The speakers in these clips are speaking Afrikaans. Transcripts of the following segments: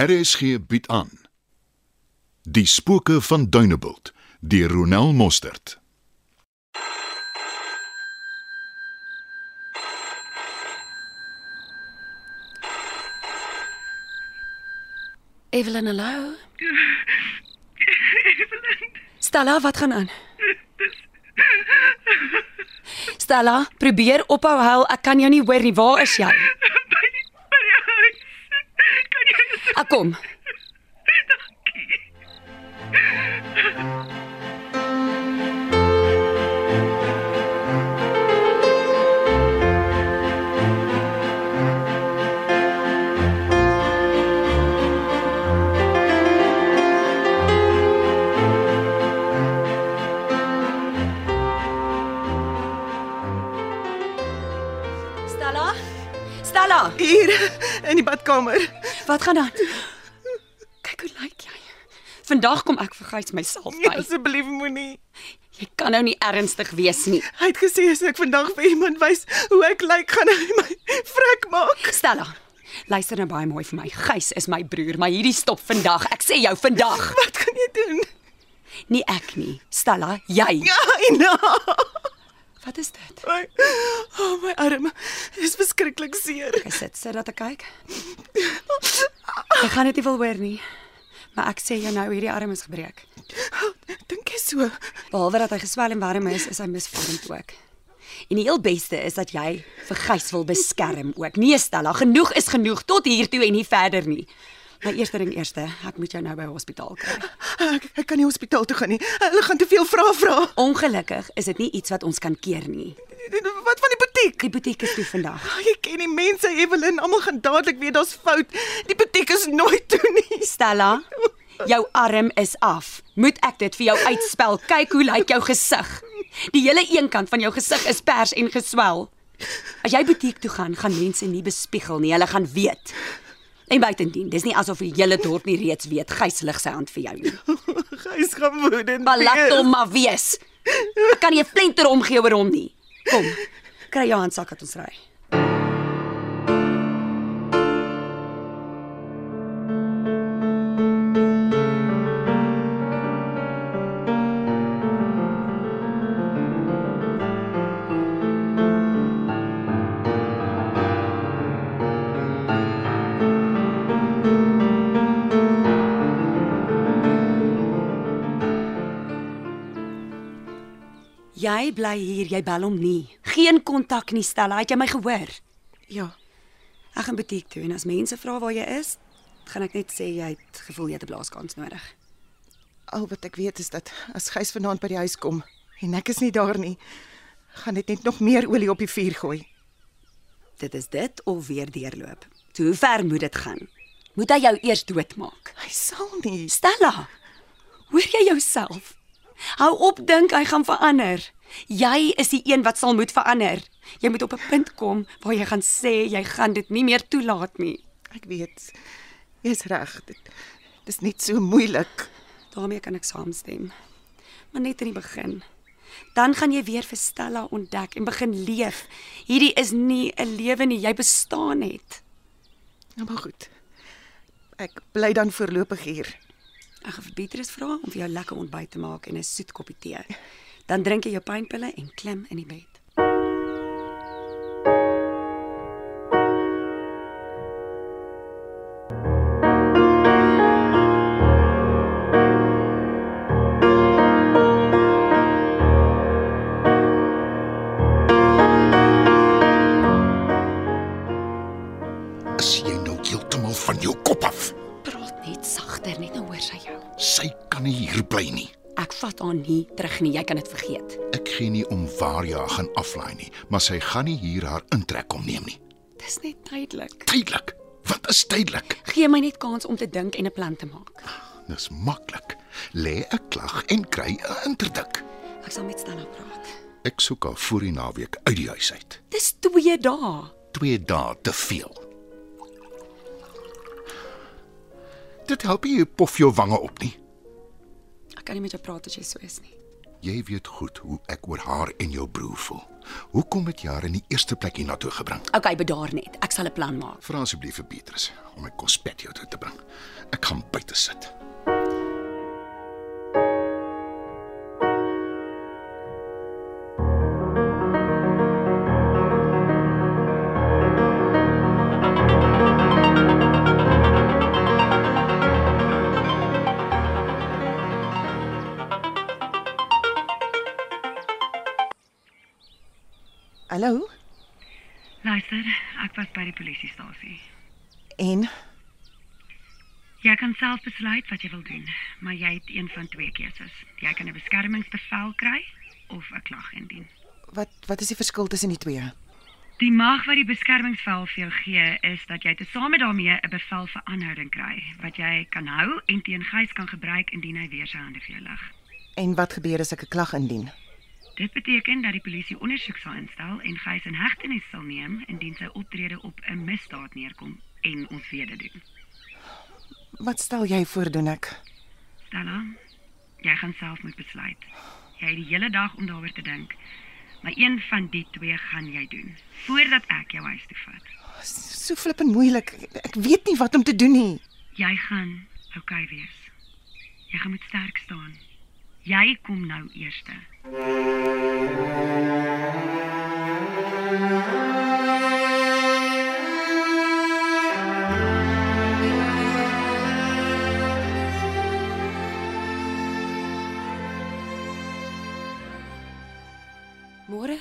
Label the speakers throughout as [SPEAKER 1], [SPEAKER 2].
[SPEAKER 1] RSG bied aan Die spooke van Dunebuld deur Ronel Mostert.
[SPEAKER 2] Evelyn, hallo. Evelyn. Stella, wat gaan aan? Stella, probeer ophou huil. Ek kan jou nie hoor nie. Waar is jy?
[SPEAKER 3] by die by die huis. Kan jy asseblief
[SPEAKER 2] Ek Ah, kom. Stella? Stella,
[SPEAKER 4] Hier in die badkamer.
[SPEAKER 2] wat gaan aan? Kyk hoe lyk jy. Vandag kom ek vergys myself
[SPEAKER 4] Nee,
[SPEAKER 2] by.
[SPEAKER 4] asseblief moenie.
[SPEAKER 2] Jy kan nou nie ernstig wees nie.
[SPEAKER 4] Hy het gesê as ek vandag vir iemand wys hoe ek lyk, gaan hy my vrek maak.
[SPEAKER 2] Stella, luister nou baie mooi vir my. Gys is my broer, maar hierdie stop vandag. Ek sê jou vandag.
[SPEAKER 4] Wat kan jy doen?
[SPEAKER 2] Nie ek nie. Stella, jy.
[SPEAKER 4] Ja, Ina.
[SPEAKER 2] Wat is dit?
[SPEAKER 4] My, oh my arm is verskriklik seer.
[SPEAKER 2] Ek sit sit dat ek kyk. Ek gaan dit nie wil hoor nie. Maar ek sê jou nou hierdie arm is gebreek.
[SPEAKER 4] Dink jy so?
[SPEAKER 2] Behalwe dat hy geswel en warm is, is hy misvormd ook. En die heel beste is dat jy vir Gys wil beskerm ook. Nee Stella, genoeg is genoeg tot hier toe en nie verder nie. My eerste ding eerste, ek moet jou nou by hospitaal kry.
[SPEAKER 4] Ek, ek kan nie hospitaal toe gaan nie. Hulle gaan te veel vra vra.
[SPEAKER 2] Ongelukkig is dit nie iets wat ons kan keer nie.
[SPEAKER 4] Wat van die butiek?
[SPEAKER 2] Die butiek is toe vandag.
[SPEAKER 4] Ag, Jy ken die mense, Evelyn, almal gaan dadelik weet daar's fout. Die butiek is nooit toe nie.
[SPEAKER 2] Stella, jou arm is af. Moet ek dit vir jou uitspel? Kyk hoe lyk jou gesig. Die hele eenkant van jou gesig is pers en geswel. As jy butiek toe gaan, gaan mense nie bespiegel nie, hulle gaan weet. En buitendien, dis nie asof die hele dorp nie reeds weet gys lig sy hand vir jou nie.
[SPEAKER 4] Gys gaan woedend.
[SPEAKER 2] Maar laat
[SPEAKER 4] wees.
[SPEAKER 2] hom maar wees. Ek kan nie 'n flenter omgee oor hom nie. Kom. Kry jou handsak dat ons ry. Jy bly hier, jy bel hom nie. Geen kontak nie, Stella, het jy my gehoor?
[SPEAKER 4] Ja.
[SPEAKER 2] Ek gaan butiek toe en as mense vra waar jy is, gaan ek net sê jy het gevoel jy het 'n blaaskans nodig.
[SPEAKER 4] Al wat ek weet is dat as Gys vanaand by die huis kom en ek is nie daar nie, gaan dit net nog meer olie op die vuur gooi.
[SPEAKER 2] Dit is dit of weer deurloop. Toe hoe ver moet dit gaan? Moet hy jou eers doodmaak?
[SPEAKER 4] Hy sal nie.
[SPEAKER 2] Stella, hoor jy jouself? Hou op dink hy gaan verander. Jy is die een wat sal moet verander. Jy moet op 'n punt kom waar jy gaan sê jy gaan dit nie meer toelaat nie.
[SPEAKER 4] Ek weet. Jy's reg. Dit, dit is net so moeilik.
[SPEAKER 2] Daarmee kan ek saamstem. Maar net in die begin. Dan gaan jy weer vir Stella ontdek en begin leef. Hierdie is nie 'n lewe nie, jy bestaan net.
[SPEAKER 4] Nou maar goed. Ek bly dan voorlopig hier.
[SPEAKER 2] Ek gaan vir Beatrice vra om vir jou lekker ontbyt te maak en 'n soet koppie tee. Dan drink jy jou pynpille en klim in die bed.
[SPEAKER 1] Is jy nou heeltemal van jou kop af?
[SPEAKER 2] Praat net sagter, net nou hoor sy jou.
[SPEAKER 1] Sy kan nie hier bly nie.
[SPEAKER 2] Ek vat haar nie terug nie, jy kan dit vergeet.
[SPEAKER 1] Ek gee nie om waar jy haar gaan aflaai nie, maar sy gaan nie hier haar intrek kom neem nie.
[SPEAKER 2] Dis net tydelik.
[SPEAKER 1] Tydelik. Wat is tydelik?
[SPEAKER 2] Gee my net kans om te dink en 'n plan te maak.
[SPEAKER 1] Dis maklik. Lê 'n klag en kry 'n interdik.
[SPEAKER 2] Ek sal met Stella praat.
[SPEAKER 1] Ek soek haar voor die naweek uit die huis uit.
[SPEAKER 2] Dis 2 dae.
[SPEAKER 1] 2 dae te veel. Dit help nie jy pof jou wange op nie.
[SPEAKER 2] Ek kan nie met jou praat as jy so is nie.
[SPEAKER 1] Jy weet goed hoe ek oor haar en jou broer voel. Hoekom het jy haar in die eerste plek hiernatoe gebring?
[SPEAKER 2] OK, bedaar net. Ek sal 'n plan maak.
[SPEAKER 1] Vra asseblief vir Petrus om my kospet jou toe te bring. te sit.
[SPEAKER 5] Hallo?
[SPEAKER 6] Luister, ek was by die polisiestasie.
[SPEAKER 5] En
[SPEAKER 6] Jy kan self besluit wat jy wil doen, maar jy het een van twee keuses. Jy kan 'n beskermingsbevel kry of 'n klag indien.
[SPEAKER 5] wat wat is die verskil tussen die twee?
[SPEAKER 6] Die mag wat die beskermingsvel vir jou gee is dat jy tesame daarmee 'n bevel vir aanhouding kry wat jy kan hou en teen Gys kan gebruik indien hy weer sy hande vir jou lig.
[SPEAKER 5] En wat gebeur as ek 'n klag indien?
[SPEAKER 6] Dit beteken dat die polisie ondersoek sal instel en Gys in hegtenis sal neem indien sy optrede op 'n misdaad neerkom en ons weet dit doen.
[SPEAKER 5] Wat stel jy voor doen ek?
[SPEAKER 6] Stella, jy gaan self moet besluit. Jy het die hele dag om daaroor te dink. Maar een van die twee gaan jy doen voordat ek jou huis toe vat.
[SPEAKER 5] S- So flippend moeilik. Ek weet nie wat om te doen nie.
[SPEAKER 6] Jy gaan okay wees. Jy gaan moet sterk staan. Jy kom nou eerste.
[SPEAKER 2] Môre?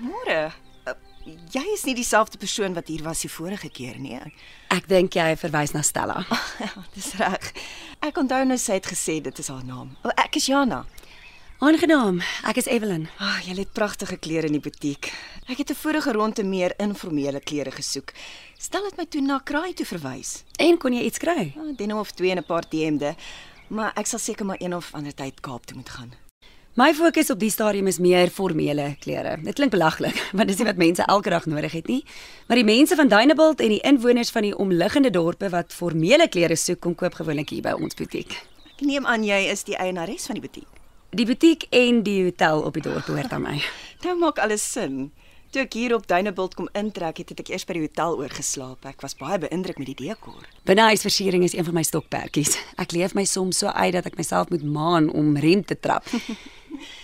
[SPEAKER 4] Môre. Uh, Jy is nie dieselfde persoon wat hier was die vorige keer nee. nie.
[SPEAKER 2] Ek dink jy verwys na Stella.
[SPEAKER 4] Ja, Dis reg. Ek onthou nou sy het gesê dit is haar naam. O, ek is Jana.
[SPEAKER 2] Aangenaam. Ek is Evelyn.
[SPEAKER 4] Ag, jy Ah, het pragtige klere in die butiek. Ek het 'n vorige ronde meer informele klere gesoek. Stel dit my toe na kraai toe verwys.
[SPEAKER 2] En kon jy iets kry?
[SPEAKER 4] Ja, denim of twee en 'n paar T-hemde, maar ek sal seker maar een of ander tyd Kaap toe moet gaan.
[SPEAKER 2] My fokus op die stadium is meer formele klere. Dit klink belaglik, want dis nie wat mense elke dag nodig het nie. Maar die mense van Dunebuld en die inwoners van die omliggende dorpe wat formele klere soek, kom koop gewoonlik hier by ons butiek.
[SPEAKER 4] Ek neem aan jy is die eienares van die butiek.
[SPEAKER 2] Die butiek en die hotel op die dorp behoort aan my.
[SPEAKER 4] Nou maak alles sin. Toe ek hier op Dunebuld kom intrek het, het ek eers by die hotel oorgeslaap. Ek was baie beïndruk met die dekor.
[SPEAKER 2] Binnehuisversiering is een van my stokperdjies. Ek leef my soms so uit dat ek myself moet maan om rem te trap.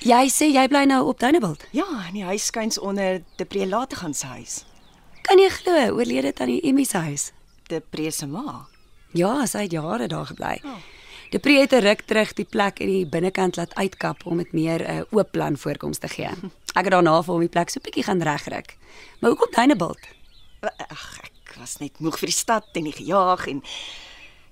[SPEAKER 2] Jy sê jy bly nou op Dunebuld.
[SPEAKER 4] Ja, in die huis skuins onder De Prelate gaan se huis.
[SPEAKER 2] Kan jy glo oorlede tannie Emmy se huis?
[SPEAKER 4] De Pre se ma.
[SPEAKER 2] Ja, sy het jare daar gebly. De Pre het 'n ruk terug die plek in die binnekant laat uitkap om dit meer 'n oop plan voorkoms te gee. Ek het daarna vir hom die plek so bietjie gaan regryk. Maar hoekom Dunebuld?
[SPEAKER 4] Ag, ek was net moeg vir die stad en die gejaag en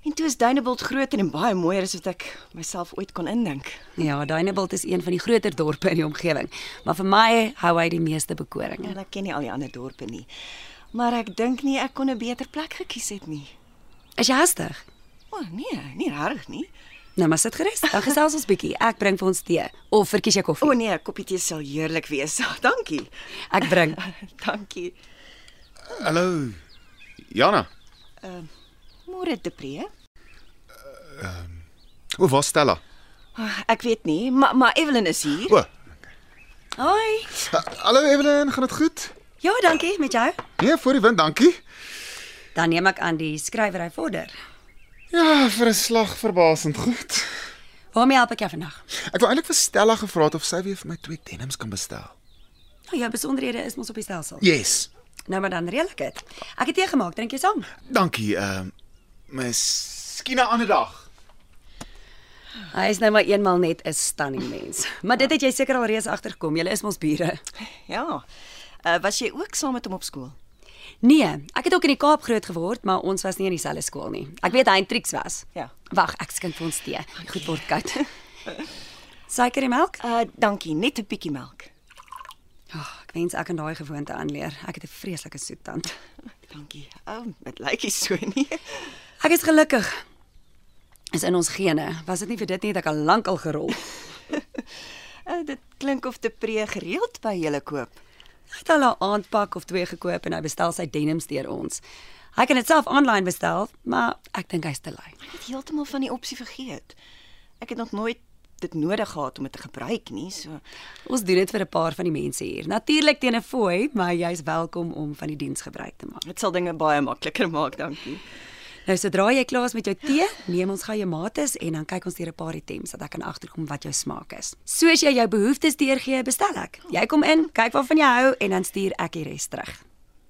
[SPEAKER 4] en toe is Dunebuld groter en baie mooier as wat ek myself ooit kon indink.
[SPEAKER 2] Ja, Dunebuld is een van die groter dorpe in die omgewing, maar vir my hou hy die meeste bekoringe.
[SPEAKER 4] En ek ken nie al die ander dorpe nie. Maar ek dink nie ek kon 'n beter plek gekies het nie.
[SPEAKER 2] Is jy hastig?
[SPEAKER 4] O oh, nee, nie regtig nie.
[SPEAKER 2] Nou maar sit gerus. Dan gesels ons bietjie. Ek bring vir ons tee of verkies jy koffie?
[SPEAKER 4] O oh, nee, 'n koppie tee sal heerlik wees. Dankie.
[SPEAKER 2] Ek bring.
[SPEAKER 4] Dankie.
[SPEAKER 7] Hallo. Jana.
[SPEAKER 4] Môre De Pre.
[SPEAKER 7] O, waar Stella?
[SPEAKER 4] Oh, ek weet nie, maar maar Evelyn is hier.
[SPEAKER 7] O.
[SPEAKER 2] Hoi.
[SPEAKER 7] Hallo Evelyn, gaan dit goed?
[SPEAKER 2] Ja, dankie met jou.
[SPEAKER 7] Nee, voor die wind, dankie.
[SPEAKER 2] Dan neem ek aan die skrywery vorder.
[SPEAKER 7] Ja, vir 'n slag verbasend goed.
[SPEAKER 2] Waarmee help ek jou vandag?
[SPEAKER 7] Ek wou eintlik vir Stella gevra het of sy weer vir my twee denims kan bestel.
[SPEAKER 2] Nou jou besonderhede is mos op die stelsel.
[SPEAKER 7] Yes.
[SPEAKER 2] Nou maar dan reël ek dit. Ek het tee gemaak, drink jy saam?
[SPEAKER 7] Dankie. Ehm uh, miskien 'n ander dag.
[SPEAKER 2] Hy is nou maar eenmal net 'n stunning mens. Maar dit het jy seker al reeds agtergekom. Julle is mos bure.
[SPEAKER 4] Ja. Uh, was jy ook saam met hom op skool?
[SPEAKER 2] Nee, ek het ook in die Kaap groot geword, maar ons was nie in dieselfde skool nie. Ek weet hy en Trix was.
[SPEAKER 4] Ja.
[SPEAKER 2] Wag, ek skink vir ons tee. Goed word koud. Suiker en melk?
[SPEAKER 4] Uh dankie, net 'n bietjie melk.
[SPEAKER 2] Ag, Ah, ek wens ek kan daai gewoonte aanleer. Ek het 'n vreeslike soet tand.
[SPEAKER 4] Dankie. Ou, dit lyk nie so nie.
[SPEAKER 2] Ek is gelukkig. Is in ons gene. Was dit nie vir dit nie dat ek al lank al gerol.
[SPEAKER 4] Uh, dit klink of te pre gereeld by julle koop.
[SPEAKER 2] Hy het al 'n aandpak of twee gekoop en hy bestel sy denims deur ons. Hy kan dit self aanlyn bestel, maar ek dink hy's te lui.
[SPEAKER 4] Ek het heeltemal van die opsie vergeet. Ek het nog nooit dit nodig gehad om dit te gebruik nie, so
[SPEAKER 2] Ons doen dit vir 'n paar van die mense hier. Natuurlik teen 'n fooi, maar jy's welkom om van die diens gebruik te maak.
[SPEAKER 4] dit sal dinge baie makliker maak, dankie.
[SPEAKER 2] Nou sodra jy klaar is met jou tee, neem ons gou jou mates en dan kyk ons deur 'n paar items dat ek kan agterkom wat jou smaak is. Soos jy jou behoeftes deurgee, bestel ek. Jy kom in, kyk waarvan jy hou en dan stuur ek die res terug.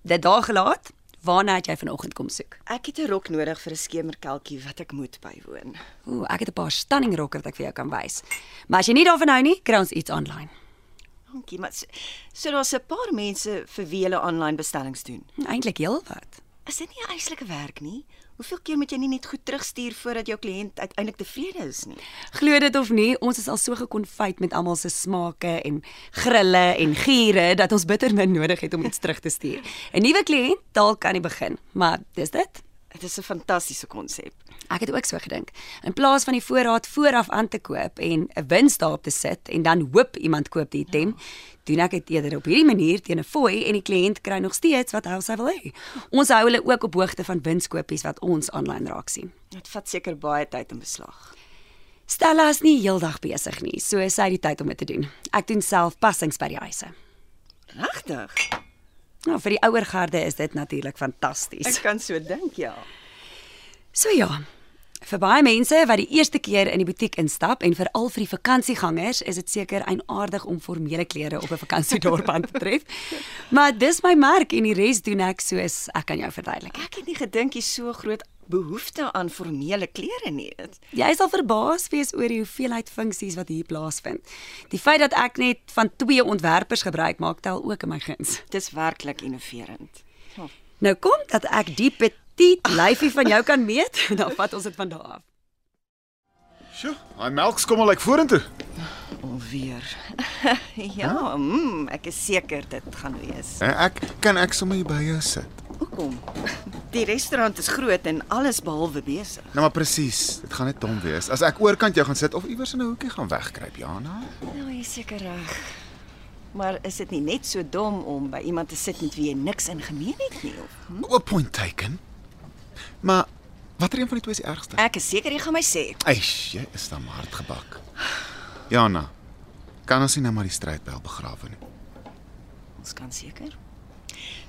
[SPEAKER 2] Dit daar gelaat. Waarna het jy vanoggend kom soek?
[SPEAKER 4] Ek het 'n rok nodig vir 'n skemerkelkie wat ek moet bywoon.
[SPEAKER 2] Ooh, ek het 'n paar stunning rokke wat ek vir jou kan wys. Maar as jy nie daarvan hou nie, kry ons iets aanlyn.
[SPEAKER 4] Dankie, maar so, so daar's 'n paar mense vir wie hulle aanlyn bestellings doen.
[SPEAKER 2] Eintlik heelwat.
[SPEAKER 4] Is dit nie 'n eislike werk nie? Hoeveel keer moet jy nie net goed terugstuur voordat jou kliënt uiteindelik tevrede is nie?
[SPEAKER 2] Glo dit of nie, ons is al so gekonfyt met almal se smake en grille en giere dat ons bitter min nodig het om iets terug te stuur. 'n Nuwe kliënt dalk aan die begin, maar dis dit.
[SPEAKER 4] Dit is 'n fantastiese konsep.
[SPEAKER 2] Ek het ook so gedink. In plaas van die voorraad vooraf aan te koop en 'n wins daarop te sit en dan hoop iemand koop die item, doen ek dit eerder op hierdie manier teen 'n fooi en die kliënt kry nog steeds wat hy of sy wil hê. Ons hou hulle ook op hoogte van winskopies wat ons aanlyn raak sien.
[SPEAKER 4] Dit vat seker baie tyd in beslag.
[SPEAKER 2] Stella is nie heeldag besig nie, so sy het die tyd om dit te doen. Ek doen self passings by die huise.
[SPEAKER 4] Regtig?
[SPEAKER 2] Nou vir die ouer garde is dit natuurlik fantasties.
[SPEAKER 4] Ek kan so dink, ja.
[SPEAKER 2] So ja, vir baie mense wat die eerste keer in die butiek instap en veral vir die vakansiegangers is dit seker eienaardig om formele klere op 'n vakansiedorp aan te tref. Maar dis my merk en die res doen ek soos ek aan jou verduidelik.
[SPEAKER 4] Ek het nie gedink jy so groot behoefte aan formele klere nie. Dit-
[SPEAKER 2] Jy sal verbaas wees oor die hoeveelheid funksies wat hier plaasvind. Die feit dat ek net van twee ontwerpers gebruik maak, tel ook in my guns.
[SPEAKER 4] Dis werklik innoverend.
[SPEAKER 2] Nou kom dat ek die petit lyfie van jou kan meet, dan vat ons dit van daar af.
[SPEAKER 7] Sjoe, hy melk skommel lyk like vorentoe.
[SPEAKER 4] Alweer. ja, mm, ek is seker dit gaan wees.
[SPEAKER 7] En Eh, ek kan ek sommer hier by jou sit.
[SPEAKER 4] Hoekom? Die restaurant is groot en alles behalwe besig.
[SPEAKER 7] Nou maar presies, dit gaan net dom wees. As ek oorkant jou gaan sit of iewers in 'n hoekie gaan wegkruip, Jana.
[SPEAKER 4] Nou, jy is seker reg. Maar is dit nie net so dom om by iemand te sit met wie jy niks in gemeen het nie? Of?
[SPEAKER 7] Op point taken. Maar watter een van die twee is die ergste?
[SPEAKER 4] Ek is seker jy gaan my sê.
[SPEAKER 7] Eish, jy is dan hard gebak. Jana, kan ons nie nou maar die stryd bel begrawe nie.
[SPEAKER 4] Ons kan seker.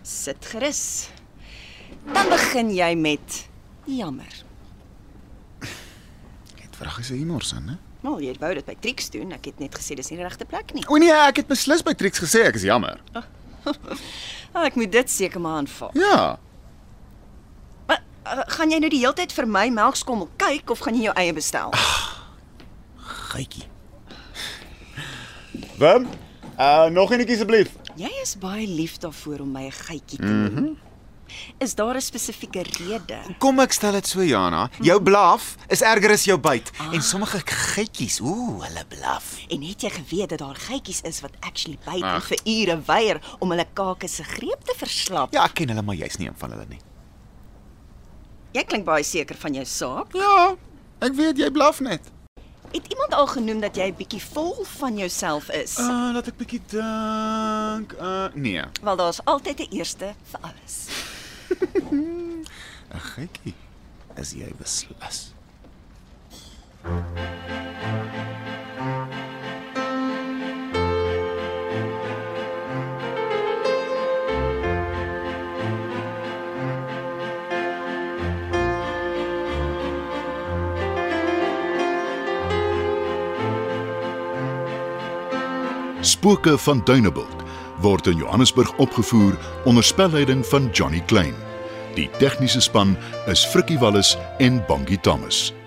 [SPEAKER 4] Sit gerus. Dan begin jy met jammer.
[SPEAKER 7] Jy Het vrag is 'n humor sin, hè?
[SPEAKER 4] Nou, jy wou dit by Trix doen. Ek het net gesê dis nie die regte plek nie.
[SPEAKER 7] O nee, ek het beslis by Trix gesê ek is jammer.
[SPEAKER 4] Ah, ek moet dit seker maar aanvaar.
[SPEAKER 7] Ja.
[SPEAKER 4] Maar uh, gaan jy nou die hele tyd vir my melkskommel kyk of gaan jy jou eie bestel?
[SPEAKER 7] Gietjie. Wem? Uh nog enetjie asseblief.
[SPEAKER 4] Jy is baie lief daarvoor om my 'n geitjie te noem. Mm -hmm. Is daar 'n spesifieke rede?
[SPEAKER 7] Kom ek stel dit so Jana, jou blaf is erger as jou byt ah. en sommige gietjies, ooh, hulle blaf.
[SPEAKER 4] En het jy geweet dat daar geitjies is wat actually byt en vir ure weier om hulle kake se greep te verslap?
[SPEAKER 7] Ja, ek ken hulle maar jy's nie een van hulle nie.
[SPEAKER 4] Jy klink baie seker van jou saak.
[SPEAKER 7] Ja, ek weet jy blaf net.
[SPEAKER 4] Het iemand al genoem dat jy 'n bietjie vol van jouself is?
[SPEAKER 7] Uh laat ek bietjie dink. Uh nee,
[SPEAKER 4] Wel daar's altyd 'n eerste vir alles.
[SPEAKER 7] 'n gietjie is jy beslis.
[SPEAKER 1] Spooke van Duneveld word in Johannesburg opgevoer onder spelleiding van Johnny Klein. Die tegniese span is Frikkie Wallis en Bongie Thomas.